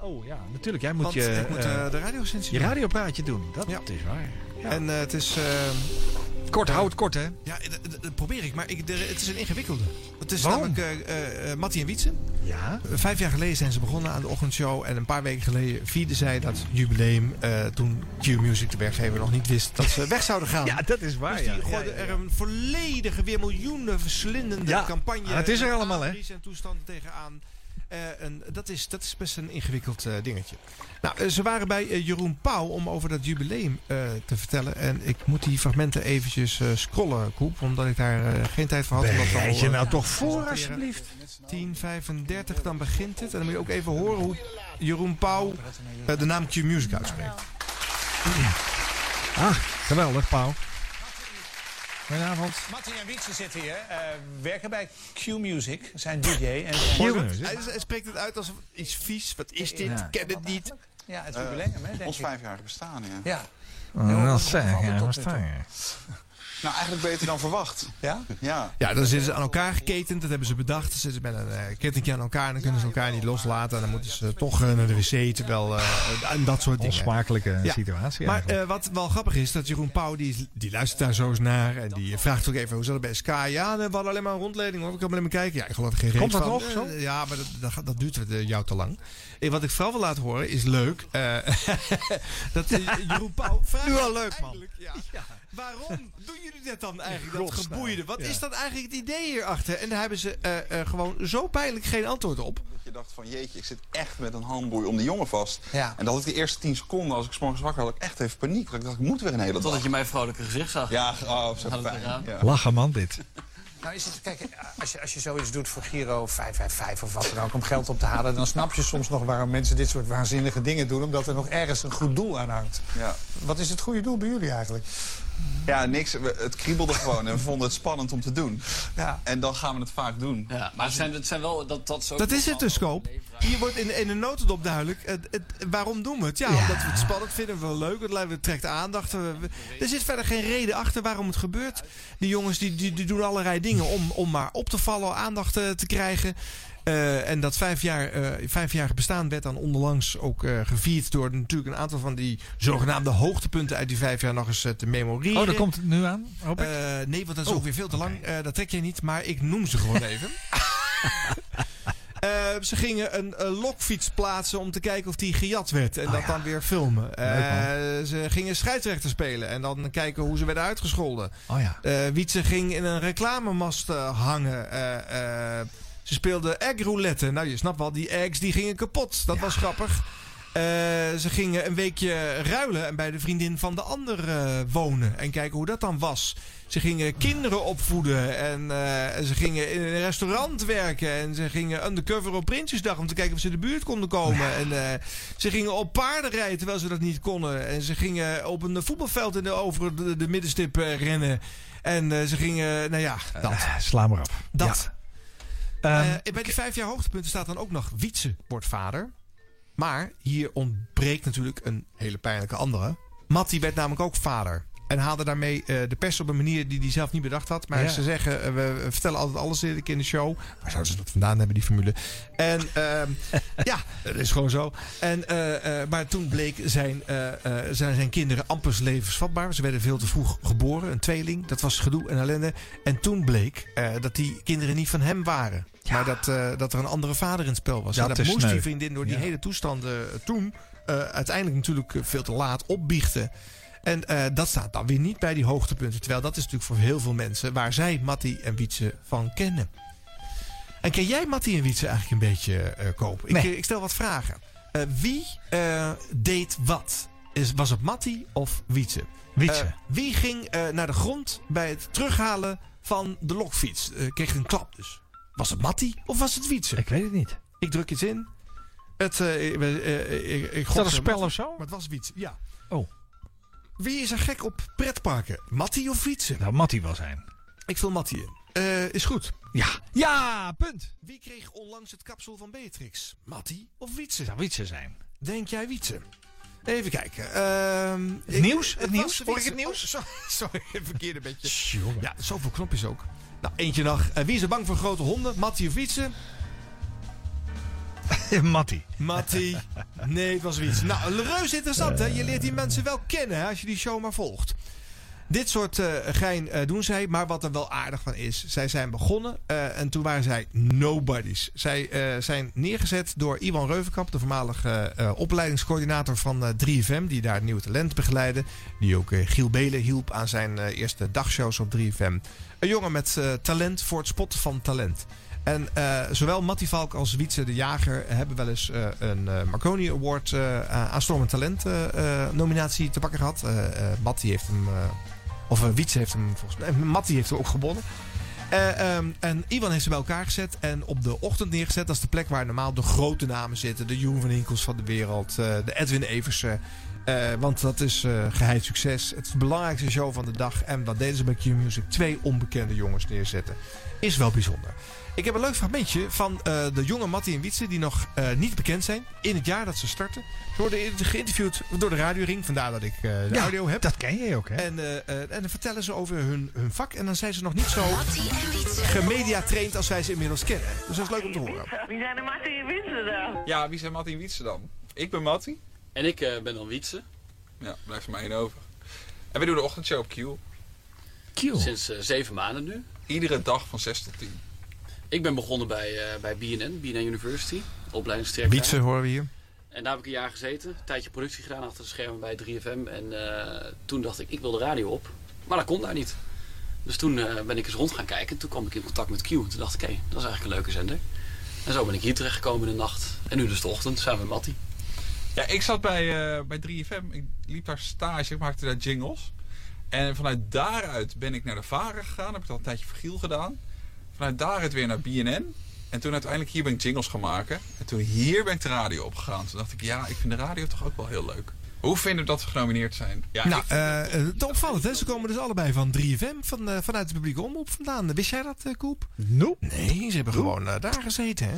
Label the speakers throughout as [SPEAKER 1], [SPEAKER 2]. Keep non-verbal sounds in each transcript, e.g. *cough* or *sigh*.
[SPEAKER 1] Oh ja, natuurlijk. Jij moet
[SPEAKER 2] Want
[SPEAKER 1] je,
[SPEAKER 2] ik moet
[SPEAKER 1] eh,
[SPEAKER 2] eh, de radiosensie
[SPEAKER 1] je radiopraatje doen. Dat
[SPEAKER 2] Ja.
[SPEAKER 1] is waar. Ja.
[SPEAKER 2] En eh, het is... eh,
[SPEAKER 1] kort, hou het kort hè.
[SPEAKER 2] ja, d- d- dat probeer ik. Maar ik, er- het is een ingewikkelde. Het is
[SPEAKER 1] Waarom?
[SPEAKER 2] namelijk eh eh, eh, Mattie en Wietsen.
[SPEAKER 1] Ja.
[SPEAKER 2] Vijf jaar geleden zijn ze begonnen aan de ochtendshow. En een paar weken geleden vierden zij dat jubileum. eh, toen Q-Music, de werkgever, nog niet wist dat ze weg zouden gaan.
[SPEAKER 1] *laughs* Ja, dat is waar.
[SPEAKER 2] Dus die
[SPEAKER 1] Ah, ja.
[SPEAKER 2] gooiden
[SPEAKER 1] Ja, ja,
[SPEAKER 2] er
[SPEAKER 1] ja.
[SPEAKER 2] een volledige, weer miljoenen verslindende
[SPEAKER 1] Ja,
[SPEAKER 2] campagne.
[SPEAKER 1] maar het is er
[SPEAKER 2] met
[SPEAKER 1] allemaal, hè?
[SPEAKER 2] advies en toestanden tegenaan. Eh, en dat, is, dat is best een ingewikkeld eh, dingetje. Nou, eh, ze waren bij eh, Jeroen Pauw om over dat jubileum eh, te vertellen. En ik moet die fragmenten eventjes eh, scrollen, Koep. Omdat ik daar eh, geen tijd voor had. om dat al,
[SPEAKER 1] Bereid je
[SPEAKER 2] eh,
[SPEAKER 1] nou toch voor
[SPEAKER 2] presenteren.
[SPEAKER 1] alsjeblieft.
[SPEAKER 2] 10.35, dan begint het. En dan moet je ook even horen hoe Jeroen Pauw eh, de naam Q-Music uitspreekt.
[SPEAKER 1] Ah, geweldig Pauw. Goedenavond.
[SPEAKER 3] Martin en Wietse zitten hier, eh, werken bij Q-Music, zijn DJ. En zijn...
[SPEAKER 2] Hij, hij spreekt het uit als iets vies. Wat is dit?
[SPEAKER 1] Ja.
[SPEAKER 2] Ken het niet.
[SPEAKER 3] Ja, het jubileum, hè, denk
[SPEAKER 4] Ons
[SPEAKER 3] ik.
[SPEAKER 4] vijfjarig bestaan, ja.
[SPEAKER 3] Ja.
[SPEAKER 1] Dat is
[SPEAKER 3] Hoe
[SPEAKER 1] zeg,
[SPEAKER 3] valt het
[SPEAKER 1] ja,
[SPEAKER 3] Eh, tot
[SPEAKER 1] wat
[SPEAKER 3] nu
[SPEAKER 1] sta
[SPEAKER 3] toe?
[SPEAKER 1] je?
[SPEAKER 4] Nou, eigenlijk beter dan
[SPEAKER 5] *laughs*
[SPEAKER 4] verwacht.
[SPEAKER 3] Ja?
[SPEAKER 4] Ja.
[SPEAKER 2] Ja, dan zitten ze aan elkaar geketend. Dat hebben ze bedacht. Ze zitten met een eh, kettingje aan elkaar. En dan kunnen ze elkaar niet loslaten. En dan moeten ze toch eh, naar de wc. Terwijl, eh, en dat soort dingen.
[SPEAKER 1] Onsmakelijke
[SPEAKER 2] Ja.
[SPEAKER 1] situatie
[SPEAKER 2] Maar
[SPEAKER 1] eigenlijk.
[SPEAKER 2] eh, wat wel grappig is, dat Jeroen Pauw, die, die luistert daar zo eens naar. En die vraagt ook even, hoe zat het bij Sky? Ja, we hadden alleen maar een rondleiding hoor. Ik kan alleen maar kijken. Ja, ik geloof er geen reet
[SPEAKER 1] Komt dat
[SPEAKER 2] van.
[SPEAKER 1] nog
[SPEAKER 2] Eh,
[SPEAKER 1] zo?
[SPEAKER 2] ja, maar dat, dat, gaat- dat duurt eh, jou te lang. Eh, wat ik vooral wil laten horen is leuk. eh, *laughs* dat eh, Jeroen Pauw vraagt...
[SPEAKER 1] Nu al leuk, man.
[SPEAKER 2] Eindelijk, Ja. Waarom doen jullie dat dan eigenlijk, dat geboeide? Wat is dat eigenlijk het idee hierachter? En daar hebben ze eh, eh, gewoon zo pijnlijk geen antwoord op.
[SPEAKER 4] Dat je dacht van, jeetje, ik zit echt met een handboei om die jongen vast.
[SPEAKER 3] Ja.
[SPEAKER 4] En dat had ik de eerste tien seconden, als ik 's morgens wakker had, had ik echt even paniek. Want ik dacht, ik moet weer een hele dag.
[SPEAKER 5] Totdat je mijn vrolijke gezicht zag.
[SPEAKER 4] Ja, oh, zo
[SPEAKER 5] Gaat het
[SPEAKER 4] fijn.
[SPEAKER 5] eraan?
[SPEAKER 4] Ja.
[SPEAKER 1] Lachen man dit.
[SPEAKER 3] Nou, is het, kijk, als je, als je zoiets doet voor Giro 555 of wat dan ook om geld op te halen... dan snap je soms nog waarom mensen dit soort waanzinnige dingen doen... omdat er nog ergens een goed doel aan hangt.
[SPEAKER 4] Ja.
[SPEAKER 3] Wat is het goede doel bij jullie eigenlijk?
[SPEAKER 4] ja, niks. We- het kriebelde gewoon en we vonden het spannend om te doen.
[SPEAKER 3] Ja.
[SPEAKER 4] En dan gaan we het vaak doen.
[SPEAKER 5] Ja, maar het zijn, het zijn wel... Dat, dat, is ook
[SPEAKER 2] Dat is
[SPEAKER 5] wel
[SPEAKER 2] het dus, Scoop. Hier wordt in, in de notendop duidelijk. Het, het- waarom doen we het? Ja, omdat we het spannend vinden, we leuk, het, lijkt- het trekt aandacht. We- we- er zit verder geen reden achter waarom het gebeurt. Die jongens die, die, die doen allerlei dingen om, om maar op te vallen, aandacht eh, te krijgen. Eh, en dat vijf jaar, eh, vijfjarig bestaan werd dan onderlangs ook eh, gevierd... door natuurlijk een aantal van die zogenaamde hoogtepunten uit die vijf jaar nog eens eh, te memoreren.
[SPEAKER 1] Oh, daar komt het nu aan, hoop ik.
[SPEAKER 2] Eh, nee, want dat is
[SPEAKER 1] Oh,
[SPEAKER 2] ook weer veel te lang. Eh, dat trek jij niet, maar ik noem ze gewoon even. Eh, ze gingen een eh, lokfiets plaatsen om te kijken of die gejat werd. En dat dan weer filmen. Eh, ze gingen scheidsrechter spelen en dan kijken hoe ze werden uitgescholden.
[SPEAKER 1] Oh ja.
[SPEAKER 2] Eh, Wietse ging in een reclamemast eh, hangen. Eh, eh, ze speelden eggroulette. Nou, je snapt wel, die eggs die gingen kapot. Dat was grappig. Eh, ze gingen een weekje ruilen en bij de vriendin van de ander eh, wonen. En kijken hoe dat dan was. Ze gingen kinderen opvoeden. En eh, ze gingen in een restaurant werken. En ze gingen undercover op Prinsjesdag om te kijken of ze in de buurt konden komen. En eh, ze gingen op paarden rijden terwijl ze dat niet konden. En ze gingen op een voetbalveld in de, over de, de middenstip eh, rennen. En eh, ze gingen, nou ja, dat.
[SPEAKER 1] Eh, Sla maar op.
[SPEAKER 2] dat.
[SPEAKER 1] Ehm,
[SPEAKER 2] Eh, bij die vijf jaar hoogtepunten staat dan ook nog Wietse wordt vader. Maar hier ontbreekt natuurlijk een hele pijnlijke andere. Mattie werd namelijk ook vader. En haalde daarmee eh, de pers op een manier die hij zelf niet bedacht had. Maar
[SPEAKER 1] Ja.
[SPEAKER 2] ze zeggen, eh, we vertellen altijd alles in in de show. Waar zouden ze dat vandaan hebben, die formule? En ehm,
[SPEAKER 1] *laughs*
[SPEAKER 2] ja, dat is gewoon zo. En, eh, eh, maar toen bleek zijn, eh, eh, zijn, zijn kinderen amper levensvatbaar. Ze werden veel te vroeg geboren, een tweeling. Dat was gedoe en ellende. En toen bleek eh, dat die kinderen niet van hem waren. Maar dat, eh, dat er een andere vader in het spel was.
[SPEAKER 1] Dat
[SPEAKER 2] en dat
[SPEAKER 1] is
[SPEAKER 2] moest
[SPEAKER 1] sneu.
[SPEAKER 2] die vriendin door die
[SPEAKER 1] Ja.
[SPEAKER 2] hele toestanden eh, toen... eh, uiteindelijk natuurlijk eh, veel te laat opbiechten. En eh, dat staat dan weer niet bij die hoogtepunten. Terwijl dat is natuurlijk voor heel veel mensen... waar zij Mattie en Wietse van kennen. En ken jij Mattie en Wietse eigenlijk een beetje eh, koop? Ik,
[SPEAKER 1] Nee.
[SPEAKER 2] eh, ik stel wat vragen. Eh, wie eh, deed wat? Is, was het Mattie of Wietse?
[SPEAKER 1] Wietse.
[SPEAKER 2] Eh, wie ging eh, naar de grond bij het terughalen van de lokfiets? Eh, kreeg een klap dus. Was het Mattie of was het Wietse? Ik,
[SPEAKER 1] ik weet het niet.
[SPEAKER 2] druk iets in. Het, eh, ik- eh, eh, ik, ik
[SPEAKER 1] Is dat een
[SPEAKER 2] gok, eh,
[SPEAKER 1] spel
[SPEAKER 2] Mattie.
[SPEAKER 1] of zo?
[SPEAKER 2] Maar het was Wietse, ja.
[SPEAKER 1] Oh.
[SPEAKER 2] Wie is er gek op pretparken? Mattie of Wietse?
[SPEAKER 1] Nou, Mattie wel zijn.
[SPEAKER 2] Ik vul Mattie in. Eh, is goed.
[SPEAKER 1] Ja. Ja, punt.
[SPEAKER 2] Wie kreeg onlangs het kapsel van Beatrix? Mattie of Wietse?
[SPEAKER 1] Het zou Wietse zijn.
[SPEAKER 2] Denk jij Wietse? Even kijken. Ehm, ik-
[SPEAKER 1] nieuws? Het
[SPEAKER 2] was
[SPEAKER 1] nieuws? Hoor ik
[SPEAKER 2] Wietse.
[SPEAKER 1] het nieuws?
[SPEAKER 2] Oh, sorry, *laughs* sorry, verkeerde beetje.
[SPEAKER 1] Tjonge.
[SPEAKER 2] Ja, zoveel knopjes ook. Nou, eentje nog. Eh, wie is er bang voor grote honden? Mattie of Wietse?
[SPEAKER 1] Mattie.
[SPEAKER 2] Mattie. Nee, het was iets. Nou, reuze interessant hè. Je leert die mensen wel kennen hè, als je die show maar volgt. Dit soort eh, gein eh, doen zij, maar wat er wel aardig van is. Zij zijn begonnen eh, en toen waren zij nobodies. Zij eh, zijn neergezet door Iwan Reuvenkamp, de voormalige eh, eh, opleidingscoördinator van eh, 3FM, die daar nieuw talent begeleidde. Die ook eh, Giel Belen hielp aan zijn eh, eerste dagshows op 3FM. Een jongen met eh, talent voor het spotten van talent. En eh, zowel Mattie Valk als Wietse de Jager hebben wel eens eh, een eh Marconi Award eh aanstormend talent eh, eh, nominatie te pakken gehad. Eh, eh, Mattie heeft hem, eh, of eh, Wietse heeft hem volgens mij, Mattie heeft hem ook gewonnen. Eh, ehm, en Iwan heeft ze bij elkaar gezet en op de ochtend neergezet. Dat is de plek waar normaal de grote namen zitten. De Joen van Hinkels van de wereld, eh, de Edwin Eversen. Eh, want dat is eh geheid succes. Het is de belangrijkste show van de dag. En wat deden ze bij Q-Music? Twee onbekende jongens neerzetten. Is wel bijzonder. Ik heb een leuk fragmentje van eh, de jonge Mattie en Wietse... die nog eh, niet bekend zijn in het jaar dat ze starten. Ze worden in- geïnterviewd door de radioring. Vandaar dat ik eh, de audio heb.
[SPEAKER 1] Dat ken je ook, hè?
[SPEAKER 2] En, eh, eh, en dan vertellen ze over hun, hun vak. En dan zijn ze nog niet zo
[SPEAKER 6] Mattie en Wietse.
[SPEAKER 2] gemediatraind als wij ze inmiddels kennen. Dus dat is leuk om te horen.
[SPEAKER 7] Wie zijn de Martin en Wietse dan?
[SPEAKER 4] Ja, wie zijn Mattie en Wietse dan? Ik ben Mattie.
[SPEAKER 5] En ik eh, ben dan Wietse.
[SPEAKER 4] Ja, blijft er maar één over. En we doen de ochtendshow op Q.
[SPEAKER 5] Sinds eh, zeven maanden nu.
[SPEAKER 4] Iedere dag van 6 tot 10.
[SPEAKER 5] Ik ben begonnen bij, eh, bij BNN, BNN University. Opleidingstraject.
[SPEAKER 2] Wietse horen we hier.
[SPEAKER 5] En daar heb ik een jaar gezeten. Een tijdje productie gedaan achter de schermen bij 3FM. En eh, toen dacht ik, ik wil de radio op. Maar dat kon daar niet. Dus toen eh, ben ik eens rond gaan kijken. Toen kwam ik in contact met Q. Toen dacht ik, hé, dat is eigenlijk een leuke zender. En zo ben ik hier terechtgekomen in de nacht. En nu dus de ochtend, samen met Mattie.
[SPEAKER 4] Ja, ik zat bij, eh, bij 3FM. Ik liep daar stage. Ik maakte daar jingles. En vanuit daaruit ben ik naar de Varen gegaan. Heb ik al een tijdje voor Giel gedaan. Vanuit daaruit weer naar BNN. En toen uiteindelijk hier ben ik jingles gaan maken. En toen hier ben ik de radio opgegaan. Toen dacht ik, ja, ik vind de radio toch ook wel heel leuk. Hoe vinden we dat we genomineerd zijn? Ja,
[SPEAKER 2] Nou,
[SPEAKER 4] ik-
[SPEAKER 2] eh, eh, te opvallend hè. Ze komen dus allebei van 3FM, van, eh, vanuit de publieke omroep vandaan. Wist jij dat, eh, Koep?
[SPEAKER 1] Nope.
[SPEAKER 2] Nee, ze hebben gewoon eh, daar gezeten hè.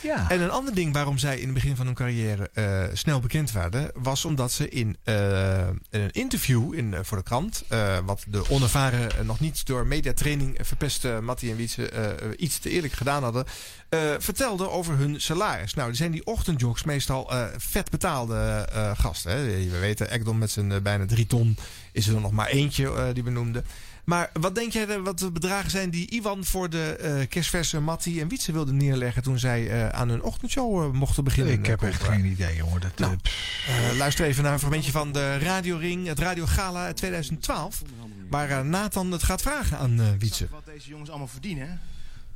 [SPEAKER 1] Ja.
[SPEAKER 2] En een ander ding waarom zij in het begin van hun carrière eh, snel bekend werden, was omdat ze in, eh, in een interview in, eh, voor de krant, eh, wat de onervaren, eh, nog niet door mediatraining verpeste Mattie en Wietse eh, eh, iets te eerlijk gedaan hadden, eh, vertelden over hun salaris. Nou, die zijn die ochtendjogs meestal eh, vet betaalde eh, gasten. Hè? We weten, Ekdom met zijn eh, bijna drie ton is er nog maar eentje eh, die we noemden. Maar wat denk jij eh, wat de bedragen zijn die Iwan voor de eh kerstverse Mattie en Wietse wilde neerleggen toen zij eh, aan hun ochtendshow eh, mochten beginnen?
[SPEAKER 1] Ik heb
[SPEAKER 2] Eh,
[SPEAKER 1] echt
[SPEAKER 2] Cobra?
[SPEAKER 1] geen idee, jongen. Dat,
[SPEAKER 2] Nou.
[SPEAKER 1] eh, pff.
[SPEAKER 2] Eh, luister even naar een fragmentje van de Radio Ring, het Radio Gala uit 2012. Waar eh, Nathan het gaat vragen aan eh, Wietse.
[SPEAKER 8] Snap je wat deze jongens allemaal verdienen.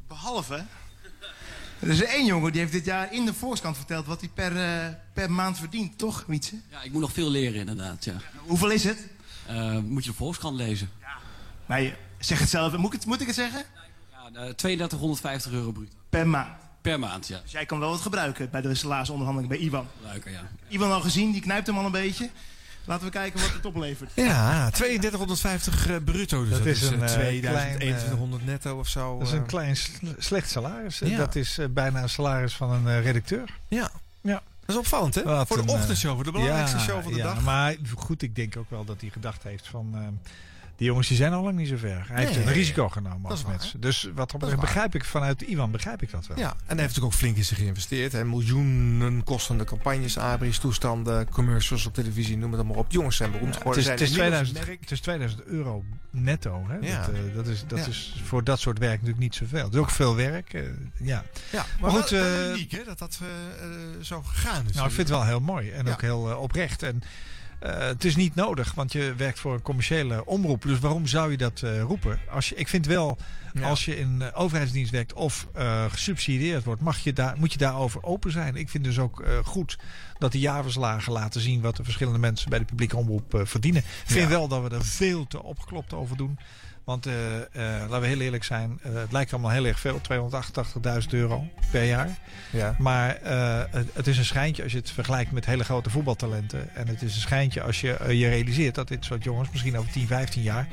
[SPEAKER 8] Behalve. Er is één jongen die heeft dit jaar in de voorkant verteld wat hij per, eh, per maand verdient, toch, Wietse?
[SPEAKER 5] Ja, ik moet nog veel leren inderdaad, ja.
[SPEAKER 8] Hoeveel is het?
[SPEAKER 5] Eh, moet je de Volkskrant lezen?
[SPEAKER 8] Nee, zeg het zelf. Moet ik het, moet ik het zeggen?
[SPEAKER 5] Ja, eh, 3250 euro bruto.
[SPEAKER 8] Per maand.
[SPEAKER 5] Per maand, ja.
[SPEAKER 8] Dus jij kan wel wat gebruiken bij de salarisonderhandeling bij Iwan.
[SPEAKER 5] Leuker, ja.
[SPEAKER 8] Iwan al gezien, die knijpt hem al een beetje. Laten we kijken wat het oplevert.
[SPEAKER 2] Ja, 3250 eh, bruto. Dus dat,
[SPEAKER 1] Dat
[SPEAKER 2] is,
[SPEAKER 1] is
[SPEAKER 2] eh,
[SPEAKER 1] een, eh,
[SPEAKER 2] 2000,
[SPEAKER 1] klein, eh,
[SPEAKER 2] 2100 netto of zo.
[SPEAKER 1] dat is
[SPEAKER 2] eh.
[SPEAKER 1] een klein sle- slecht salaris.
[SPEAKER 2] Ja.
[SPEAKER 1] Dat is eh, bijna een salaris van een eh, redacteur.
[SPEAKER 2] Ja.
[SPEAKER 1] Ja.
[SPEAKER 2] Dat is opvallend, hè?
[SPEAKER 1] Wat
[SPEAKER 2] voor de
[SPEAKER 1] een, eh,
[SPEAKER 2] ochtendshow, voor de belangrijkste show van de
[SPEAKER 1] ja,
[SPEAKER 2] dag.
[SPEAKER 1] Maar goed, ik denk ook wel dat hij gedacht heeft van... eh, die jongens die zijn al lang niet zo ver. Hij heeft
[SPEAKER 2] Nee.
[SPEAKER 1] een risico genomen
[SPEAKER 2] Dat
[SPEAKER 1] als
[SPEAKER 2] is waar.
[SPEAKER 1] mens. Dus wat dat
[SPEAKER 2] is
[SPEAKER 1] betreft
[SPEAKER 2] waar.
[SPEAKER 1] begrijp ik vanuit Iwan begrijp ik dat wel.
[SPEAKER 2] Ja, en hij heeft natuurlijk ook flink in zich geïnvesteerd. Hè. Miljoenen kostende campagnes, abris, toestanden, commercials op televisie, noem het allemaal op. Jongens zijn beroemd
[SPEAKER 1] Het
[SPEAKER 2] geworden.
[SPEAKER 1] is, het, is
[SPEAKER 2] zijn inmiddels
[SPEAKER 1] 2000, het is 2000 euro netto. Hè?
[SPEAKER 2] Ja.
[SPEAKER 1] Dat, eh, dat, is, dat
[SPEAKER 2] Ja.
[SPEAKER 1] is voor dat soort werk natuurlijk niet zoveel. Het is ook veel werk. eh, ja.
[SPEAKER 2] merk. Ja, maar,
[SPEAKER 1] Maar
[SPEAKER 2] goed,
[SPEAKER 1] goed, eh,
[SPEAKER 2] uniek hè, dat dat eh, eh, zo gegaan is.
[SPEAKER 1] Nou, ik vind het wel heel mooi en
[SPEAKER 2] Ja.
[SPEAKER 1] ook heel eh, oprecht. En eh, het is niet nodig, want je werkt voor een commerciële omroep. Dus waarom zou je dat eh, roepen? Als je, ik vind wel,
[SPEAKER 2] Ja.
[SPEAKER 1] als je in eh, overheidsdienst werkt of eh, gesubsidieerd wordt, mag je daar, moet je daarover open zijn. Ik vind dus ook eh, goed dat de jaarverslagen laten zien wat de verschillende mensen bij de publieke omroep eh, verdienen. Ik vind
[SPEAKER 2] Ja.
[SPEAKER 1] wel dat we er veel te opgeklopt over doen. Want eh, eh, laten we heel eerlijk zijn, eh, het lijkt allemaal heel erg veel, 288.000 euro per jaar.
[SPEAKER 2] Ja.
[SPEAKER 1] Maar eh, het- het is een schijntje als je het vergelijkt met hele grote voetbaltalenten. En het is een schijntje als je eh, je realiseert dat dit soort jongens misschien over 10, 15 jaar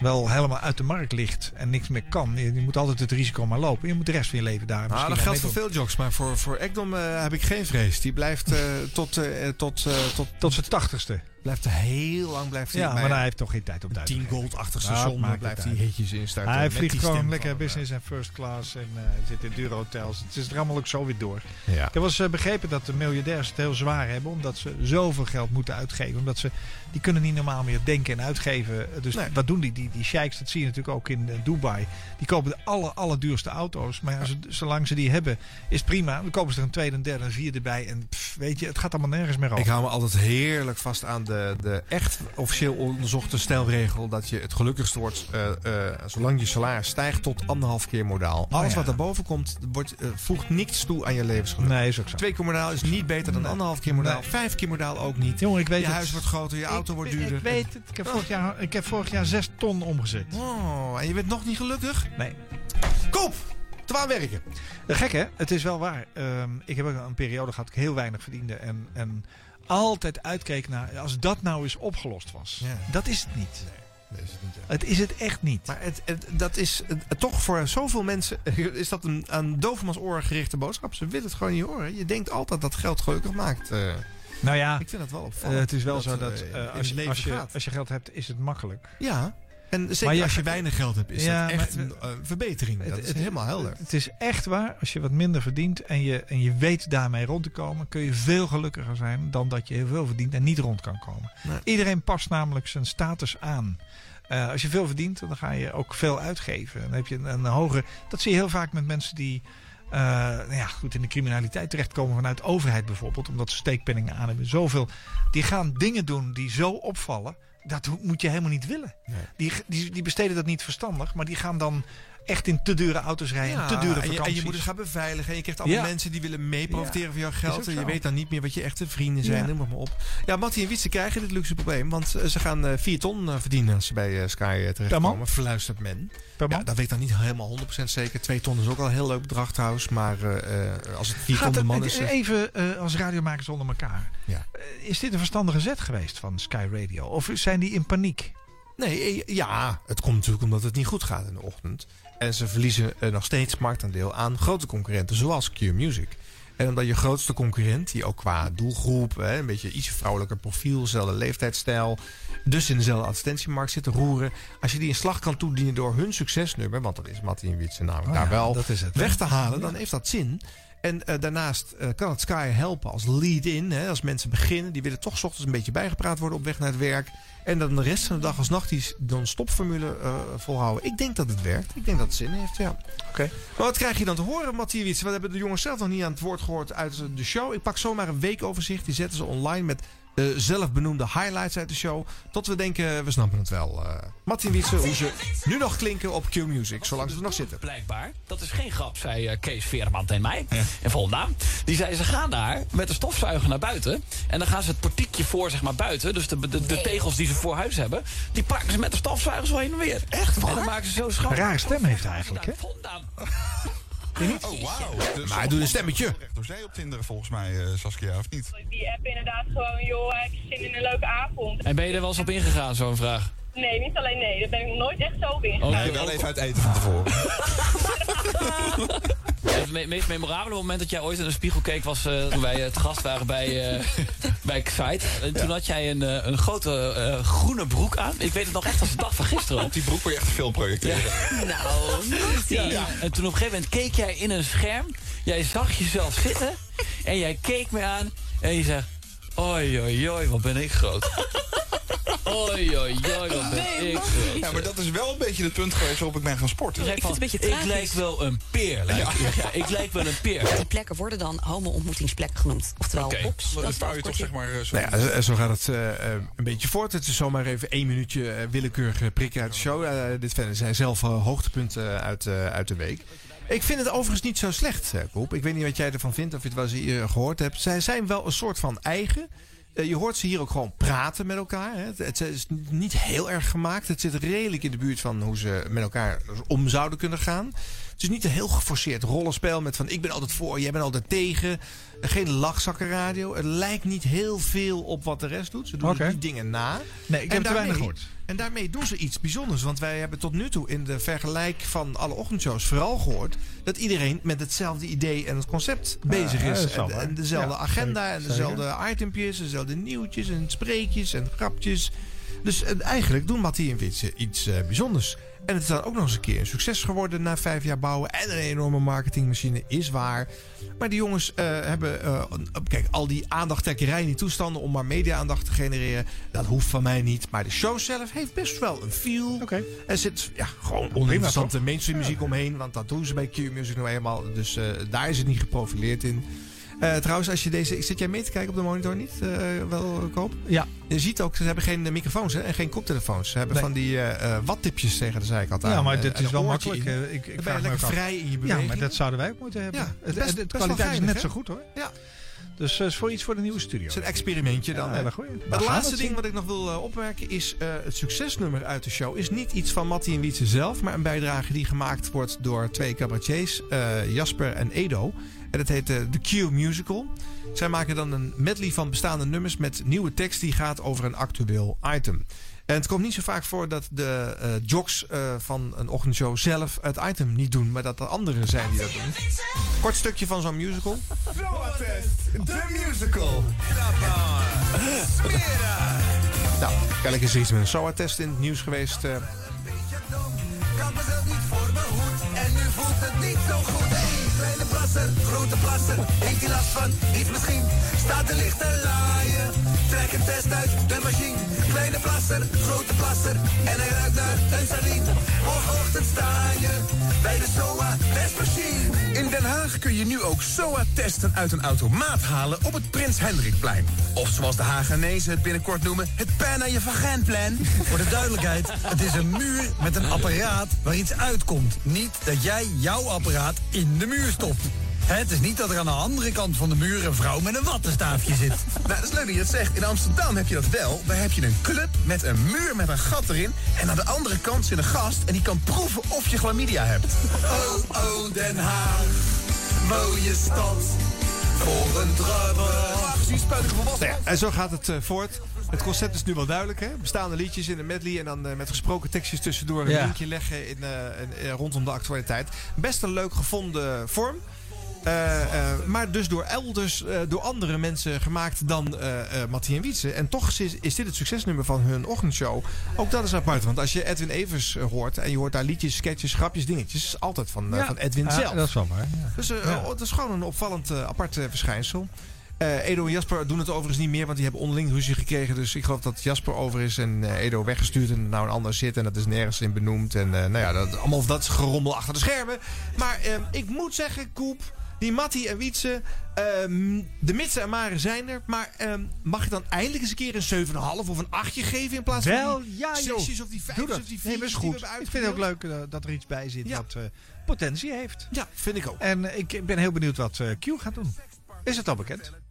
[SPEAKER 1] wel helemaal uit de markt ligt en niks meer kan. Je, je moet altijd het risico maar lopen. Je moet de rest van je leven daar
[SPEAKER 2] Nou,
[SPEAKER 1] misschien
[SPEAKER 2] dat
[SPEAKER 1] aan
[SPEAKER 2] geldt voor
[SPEAKER 1] meedoen.
[SPEAKER 2] veel jocks, maar voor, voor Ekdom eh, heb ik geen vrees. Die blijft eh, tot, eh, tot, eh, tot,
[SPEAKER 1] Tot zijn tachtigste.
[SPEAKER 2] Blijft heel lang blijft hij
[SPEAKER 1] Ja,
[SPEAKER 2] bij
[SPEAKER 1] maar hij heeft toch geen tijd om
[SPEAKER 2] een
[SPEAKER 1] tijd.
[SPEAKER 2] 10 gold-achtig
[SPEAKER 1] Nou,
[SPEAKER 2] station.
[SPEAKER 1] maakt
[SPEAKER 2] Dan
[SPEAKER 1] het
[SPEAKER 2] blijft hij
[SPEAKER 1] uit.
[SPEAKER 2] hitjes instarten.
[SPEAKER 1] Hij
[SPEAKER 2] eh, met
[SPEAKER 1] vliegt
[SPEAKER 2] die
[SPEAKER 1] gewoon
[SPEAKER 2] stem
[SPEAKER 1] lekker
[SPEAKER 2] van, eh,
[SPEAKER 1] business en first class en eh, zit in dure hotels. Het is er allemaal ook zo weer door.
[SPEAKER 2] eh, ja.
[SPEAKER 1] Ik heb wel eens eh, begrepen dat de miljardairs het heel zwaar hebben. Omdat ze zoveel geld moeten uitgeven. Omdat ze, die kunnen niet normaal meer denken en uitgeven. Eh, Dus
[SPEAKER 2] Nee.
[SPEAKER 1] wat doen die? Die, die sheiks, dat zie je natuurlijk ook in eh, Dubai. Die kopen de aller, allerduurste auto's. Maar ja, ze- zolang ze die hebben, is prima. Dan kopen ze er een tweede, een derde, een vierde bij. En pff, weet je, het gaat allemaal nergens meer
[SPEAKER 2] Ik
[SPEAKER 1] over.
[SPEAKER 2] hou me altijd heerlijk vast aan de, de echt officieel onderzochte stelregel... dat je het gelukkigst wordt eh, eh, zolang je salaris stijgt tot anderhalf keer modaal. Alles
[SPEAKER 1] Oh ja.
[SPEAKER 2] wat daarboven komt, wordt, eh, voegt niets toe aan je levensgeluk.
[SPEAKER 1] Nee, is ook zo.
[SPEAKER 2] Twee keer modaal is niet beter dan
[SPEAKER 1] Nee.
[SPEAKER 2] anderhalf keer modaal.
[SPEAKER 1] Nee.
[SPEAKER 2] Vijf keer modaal ook niet.
[SPEAKER 1] Jongen, ik weet
[SPEAKER 2] Je
[SPEAKER 1] het.
[SPEAKER 2] huis wordt groter, je auto
[SPEAKER 1] Ik-
[SPEAKER 2] wordt
[SPEAKER 1] ik-
[SPEAKER 2] duurder.
[SPEAKER 1] Ik weet het. Ik heb vorig jaar, ik heb vorig jaar zes ton omgezet.
[SPEAKER 2] Oh, en je bent nog niet gelukkig?
[SPEAKER 1] Nee.
[SPEAKER 2] Koop! Te aan werken.
[SPEAKER 1] Eh, Gek hè? Het is wel waar. Ehm, ik heb ook een periode gehad dat ik heel weinig verdiende. En, en altijd uitkeek naar als dat nou eens opgelost was.
[SPEAKER 2] Ja.
[SPEAKER 1] Dat is het niet. Het is het echt niet.
[SPEAKER 2] Maar het, het- dat is het- toch voor zoveel mensen *laughs* is dat een aan dovenmans oren gerichte boodschap. Ze willen het gewoon niet horen. Je denkt altijd dat geld gelukkig maakt. Eh,
[SPEAKER 1] nou ja,
[SPEAKER 2] ik vind dat wel
[SPEAKER 1] eh,
[SPEAKER 2] opvallend.
[SPEAKER 1] het is wel zo
[SPEAKER 2] eh,
[SPEAKER 1] dat
[SPEAKER 2] in
[SPEAKER 1] eh,
[SPEAKER 2] het
[SPEAKER 1] als, je,
[SPEAKER 2] leven
[SPEAKER 1] als, je,
[SPEAKER 2] gaat.
[SPEAKER 1] als je geld hebt, is het makkelijk.
[SPEAKER 2] ja, en
[SPEAKER 1] Maar
[SPEAKER 2] zeker
[SPEAKER 1] je-
[SPEAKER 2] als je weinig geld hebt, is
[SPEAKER 1] Ja,
[SPEAKER 2] dat echt
[SPEAKER 1] maar-
[SPEAKER 2] een eh, verbetering.
[SPEAKER 1] Het-
[SPEAKER 2] dat is
[SPEAKER 1] het-
[SPEAKER 2] helemaal helder.
[SPEAKER 1] Het is echt waar, als je wat minder verdient en je, en je weet daarmee rond te komen, kun je veel gelukkiger zijn dan dat je heel veel verdient en niet rond kan komen.
[SPEAKER 2] Nee.
[SPEAKER 1] Iedereen past namelijk zijn status aan. Eh, als je veel verdient, dan ga je ook veel uitgeven. Dan heb je een, een hogere. Dat zie je heel vaak met mensen die. eh, nou ja, goed in de criminaliteit terechtkomen vanuit de overheid bijvoorbeeld, omdat ze steekpenningen aan hebben. Zoveel. Die gaan dingen doen die zo opvallen. Dat ho- moet je helemaal niet willen.
[SPEAKER 2] Nee.
[SPEAKER 1] Die, die, die besteden dat niet verstandig, maar die gaan dan echt in te dure auto's rijden,
[SPEAKER 2] Ja,
[SPEAKER 1] te dure
[SPEAKER 2] en, je,
[SPEAKER 1] vakanties.
[SPEAKER 2] en je moet dus- het gaan beveiligen. En je krijgt allemaal
[SPEAKER 1] Ja.
[SPEAKER 2] mensen die willen meeprofiteren van jouw
[SPEAKER 1] ook
[SPEAKER 2] geld. En
[SPEAKER 1] zo.
[SPEAKER 2] je weet dan niet meer wat je echte vrienden zijn.
[SPEAKER 1] Ja.
[SPEAKER 2] Noem het maar op. Ja, Mattie en Wietse krijgen dit luxe probleem. Want eh, ze gaan eh 4 ton eh, verdienen als ze bij eh, Sky eh, terechtkomen. Verluistert men.
[SPEAKER 1] Per
[SPEAKER 2] Ja,
[SPEAKER 1] man?
[SPEAKER 2] dat weet ik dan niet helemaal 100% zeker. 2 ton is ook al een heel leuk bedrag trouwens. Maar eh, eh, als het 4 ton
[SPEAKER 1] Gaat
[SPEAKER 2] de
[SPEAKER 1] het,
[SPEAKER 2] man is... eh,
[SPEAKER 1] even eh, als radiomakers onder elkaar.
[SPEAKER 2] Ja.
[SPEAKER 1] Eh, is dit een verstandige zet geweest van Sky Radio? Of zijn die in paniek?
[SPEAKER 2] nee, eh, ja, het komt natuurlijk omdat het niet goed gaat in de ochtend. En ze verliezen eh, nog steeds marktaandeel aan grote concurrenten zoals Q Music. En omdat je grootste concurrent, die ook qua doelgroep, hè, een beetje iets vrouwelijker profiel, dezelfde leeftijdsstijl, dus in dezelfde advertentiemarkt zit te roeren. Als je die een slag kan toedienen door hun succesnummer, want dat is Mattie en Wietse namelijk daar wel
[SPEAKER 1] Oh Dat is het.
[SPEAKER 2] weg te halen, dan heeft dat zin. En eh, daarnaast eh, kan het Sky helpen als lead-in. hè, Als mensen beginnen, die willen toch 's ochtends een beetje bijgepraat worden op weg naar het werk. En dan de rest van de dag als nacht die s- non-stop-formule eh, volhouden. Ik denk dat het werkt. Ik denk dat het zin heeft, ja.
[SPEAKER 1] Oké.
[SPEAKER 2] Maar wat krijg je dan te horen, Matthias Wiets? Wat hebben de jongens zelf nog niet aan het woord gehoord uit de show? Ik pak zomaar een weekoverzicht. Die zetten ze online met eh, zelfbenoemde highlights uit de show. Tot we denken, we snappen het wel. eh Matthias Wietse, hoe ze nu nog klinken op Q-Music. Zolang ze er nog zitten.
[SPEAKER 6] Blijkbaar. Dat is geen grap, zei eh, Kees Veerman tegen mij. En Volendam. Die zei, ze gaan daar met een stofzuiger naar buiten. En dan gaan ze het portiekje voor, zeg maar, buiten. Dus de, de, de tegels die ze voor huis hebben... die pakken ze met de stofzuiger zo heen en weer. Echt En dan maken ze zo schoon.
[SPEAKER 1] Een rare stem heeft hij eigenlijk, hè?
[SPEAKER 6] Volendam.
[SPEAKER 9] Oh, wauw. Dus
[SPEAKER 2] Maar hij doet een stemmetje.
[SPEAKER 9] door zee op Tinder volgens mij, eh, Saskia, of niet?
[SPEAKER 7] Die app inderdaad gewoon, joh, ik zin in een leuke avond.
[SPEAKER 6] En ben je er wel eens op ingegaan, zo'n vraag?
[SPEAKER 7] Nee, niet alleen nee, daar ben ik nog nooit echt zo in.
[SPEAKER 10] Oh.
[SPEAKER 6] Ook-
[SPEAKER 9] Nee, wel even uit eten van tevoren.
[SPEAKER 6] Het me- meest memorabele moment dat jij ooit in de spiegel keek was eh, toen wij eh, te gast waren bij, eh *laughs* bij Excite. En toen had jij een, eh, een grote eh, groene broek aan. Ik weet het nog echt als de dag van gisteren. *laughs*
[SPEAKER 9] Op *laughs* die broek word je echt veel projecteren.
[SPEAKER 6] Nou, ja. En toen op een gegeven moment keek jij in een scherm. Jij zag jezelf zitten. En jij keek me aan. En je zegt... Oi, oi, oi, wat ben ik *laughs* groot. Oi, oi, oi, wat ben ik groot.
[SPEAKER 9] Ja, maar dat is wel een beetje het punt geweest waarop ik ben gaan sporten.
[SPEAKER 6] Ik, van, ik lijk wel een peer. lijk ik. Ja, ik lijk wel een *laughs* peer.
[SPEAKER 10] Die plekken worden dan homo-ontmoetingsplekken genoemd. Oftewel
[SPEAKER 9] Oké,
[SPEAKER 10] hops.
[SPEAKER 9] dan
[SPEAKER 10] is de
[SPEAKER 9] vouw je toch
[SPEAKER 10] afkorting.
[SPEAKER 9] zeg maar eh, zo.
[SPEAKER 2] Nou ja, zo- zo gaat het eh, eh, een beetje voort. Het is zomaar even één minuutje eh, willekeurige prikken uit de show. Eh, dit verder zijn zelf eh, hoogtepunten uit, eh, uit de week. Ik vind het overigens niet zo slecht, eh, Koep. Ik weet niet wat jij ervan vindt of je het wel eens hier gehoord hebt. Zij zijn wel een soort van eigen. Eh, je hoort ze hier ook gewoon praten met elkaar. Hè. Het, het is niet heel erg gemaakt. Het zit redelijk in de buurt van hoe ze met elkaar om zouden kunnen gaan. Het is niet een heel geforceerd rollenspel met van ik ben altijd voor, jij bent altijd tegen. Geen lachzakkenradio. Het lijkt niet heel veel op wat de rest doet. Ze doen
[SPEAKER 1] Oké.
[SPEAKER 2] die dingen na.
[SPEAKER 1] Nee, ik
[SPEAKER 2] En
[SPEAKER 1] heb te weinig
[SPEAKER 2] daarmee-
[SPEAKER 1] gehoord.
[SPEAKER 2] En daarmee doen ze iets bijzonders. Want wij hebben tot nu toe in de vergelijk van alle ochtendshows vooral gehoord... dat iedereen met hetzelfde idee en het concept bezig
[SPEAKER 1] ja, dat
[SPEAKER 2] is.
[SPEAKER 1] is wel
[SPEAKER 2] en,
[SPEAKER 1] waar.
[SPEAKER 2] en dezelfde
[SPEAKER 1] Ja,
[SPEAKER 2] agenda
[SPEAKER 1] zeker,
[SPEAKER 2] en
[SPEAKER 1] zeker.
[SPEAKER 2] dezelfde itempjes... en dezelfde nieuwtjes en spreekjes en grapjes. Dus eh, eigenlijk doen Mattie en Witsen iets eh, bijzonders. En het is dan ook nog eens een keer een succes geworden na vijf jaar bouwen. En een enorme marketingmachine is waar. Maar die jongens eh, hebben. eh, een- kijk, al die aandachttrekkerij in die toestanden om maar media-aandacht te genereren. Dat hoeft van mij niet. Maar de show zelf heeft best wel een feel.
[SPEAKER 1] Oké.
[SPEAKER 2] Er zit ja, gewoon oninteressante mainstream muziek omheen. Want dat doen ze bij Q-Music nou eenmaal. Dus eh, daar is het niet geprofileerd in. Eh, trouwens, als je deze. Zit jij mee te kijken op de monitor niet? Eh, wel koop?
[SPEAKER 1] Ja.
[SPEAKER 2] Je ziet ook, ze hebben geen eh, microfoons hè, en geen koptelefoons. Ze hebben
[SPEAKER 1] Nee.
[SPEAKER 2] van die eh eh, wattipjes tegen de zijkant aan.
[SPEAKER 1] Ja, maar
[SPEAKER 2] eh,
[SPEAKER 1] dit
[SPEAKER 2] en
[SPEAKER 1] is
[SPEAKER 2] een
[SPEAKER 1] wel
[SPEAKER 2] oortje
[SPEAKER 1] makkelijk.
[SPEAKER 2] in.
[SPEAKER 1] eh, Ik, ik
[SPEAKER 2] Dan ben je
[SPEAKER 1] vraag me ook
[SPEAKER 2] lekker
[SPEAKER 1] af.
[SPEAKER 2] vrij in je
[SPEAKER 1] Ja,
[SPEAKER 2] beweging.
[SPEAKER 1] maar dat zouden wij ook moeten hebben.
[SPEAKER 2] Ja,
[SPEAKER 1] het,
[SPEAKER 2] best-
[SPEAKER 1] het- de
[SPEAKER 2] best wel
[SPEAKER 1] kwaliteit is
[SPEAKER 2] geinig,
[SPEAKER 1] net
[SPEAKER 2] hè?
[SPEAKER 1] zo goed hoor.
[SPEAKER 2] Ja.
[SPEAKER 1] Dus eh, is voor iets voor de nieuwe studio.
[SPEAKER 2] is een experimentje dan.
[SPEAKER 1] Ja,
[SPEAKER 2] hè.
[SPEAKER 1] hele goeie. We
[SPEAKER 2] Het
[SPEAKER 1] gaan
[SPEAKER 2] laatste
[SPEAKER 1] het
[SPEAKER 2] ding
[SPEAKER 1] zien.
[SPEAKER 2] wat ik nog wil eh, opmerken is... eh, het succesnummer uit de show is niet iets van Mattie en Wietse zelf... maar een bijdrage die gemaakt wordt door twee cabaretiers... eh, Jasper en Edo. En dat heet eh, The Q Musical. Zij maken dan een medley van bestaande nummers... met nieuwe tekst die gaat over een actueel item. En het komt niet zo vaak voor dat de eh, jocks eh, van een ochtendshow zelf het item niet doen... maar dat er anderen zijn die dat doen. Kort stukje van zo'n musical.
[SPEAKER 9] De musical.
[SPEAKER 2] Nou, kennelijk is er iets met een SOA-test in het nieuws geweest. eh.
[SPEAKER 11] In Den Haag kun je nu ook SOA-testen uit een automaat halen op het Prins Hendrikplein. Of zoals de Hagenezen het binnenkort noemen, het pijn aan je vaginplein. Voor de duidelijkheid, het is een muur met een apparaat waar iets uitkomt. Niet dat jij jouw apparaat in de muur stopt. Hè, Het is niet dat er aan de andere kant van de muur een vrouw met een wattenstaafje zit. *laughs* Nou, dat is leuk dat je dat zegt. In Amsterdam heb je dat wel. Daar heb je een club met een muur met een gat erin. En aan de andere kant zit een gast en die kan proeven of je chlamydia hebt. *laughs* Oh, oh, Den Haag. Mooie stad. Voor een drummer. Precies, spuitige volwassenen.
[SPEAKER 2] Nou ja, en zo gaat het eh, voort. Het concept is nu wel duidelijk, hè? Bestaande liedjes in een medley en dan eh, met gesproken tekstjes tussendoor een
[SPEAKER 1] Ja.
[SPEAKER 2] linkje leggen in, eh, in- eh, rondom de actualiteit. Best een leuk gevonden vorm. Eh, eh, maar dus door elders, eh, door andere mensen gemaakt dan eh eh Mattie en Wietse. En toch is, is dit het succesnummer van hun ochtendshow. Ook dat is apart, want als je Edwin Evers eh, hoort... en je hoort daar liedjes, sketches, grapjes, dingetjes... is altijd van, eh,
[SPEAKER 1] Ja.
[SPEAKER 2] van Edwin
[SPEAKER 1] Ja,
[SPEAKER 2] zelf.
[SPEAKER 1] dat is wel waar. ja.
[SPEAKER 2] Dus eh, oh, het is gewoon een opvallend eh, apart eh, verschijnsel. Eh, Edo en Jasper doen het overigens niet meer, want die hebben onderling ruzie gekregen. Dus ik geloof dat Jasper over is en eh, Edo weggestuurd en er nou een ander zit. En dat is nergens in benoemd. En eh, nou ja, dat, allemaal dat gerommel achter de schermen. Maar eh, ik moet zeggen, Koep, die Matti en Wietse, eh, de mitsen en maren zijn er. Maar eh, mag ik dan eindelijk eens een keer een 7,5 of een 8 geven in plaats
[SPEAKER 1] Wel,
[SPEAKER 2] van die
[SPEAKER 1] ja, joh.
[SPEAKER 2] zesjes of die
[SPEAKER 1] Doe
[SPEAKER 2] vijfjes
[SPEAKER 1] dat.
[SPEAKER 2] of die
[SPEAKER 1] Nee,
[SPEAKER 2] viertjes
[SPEAKER 1] maar is
[SPEAKER 2] die
[SPEAKER 1] goed.
[SPEAKER 2] we hebben
[SPEAKER 1] Ik vind het ook
[SPEAKER 2] uitgedeeld?
[SPEAKER 1] leuk eh, dat er iets bij zit
[SPEAKER 2] Ja.
[SPEAKER 1] dat eh, potentie heeft.
[SPEAKER 2] Ja, vind ik ook.
[SPEAKER 1] En ik ben heel benieuwd wat eh, Q gaat doen. Is het al bekend?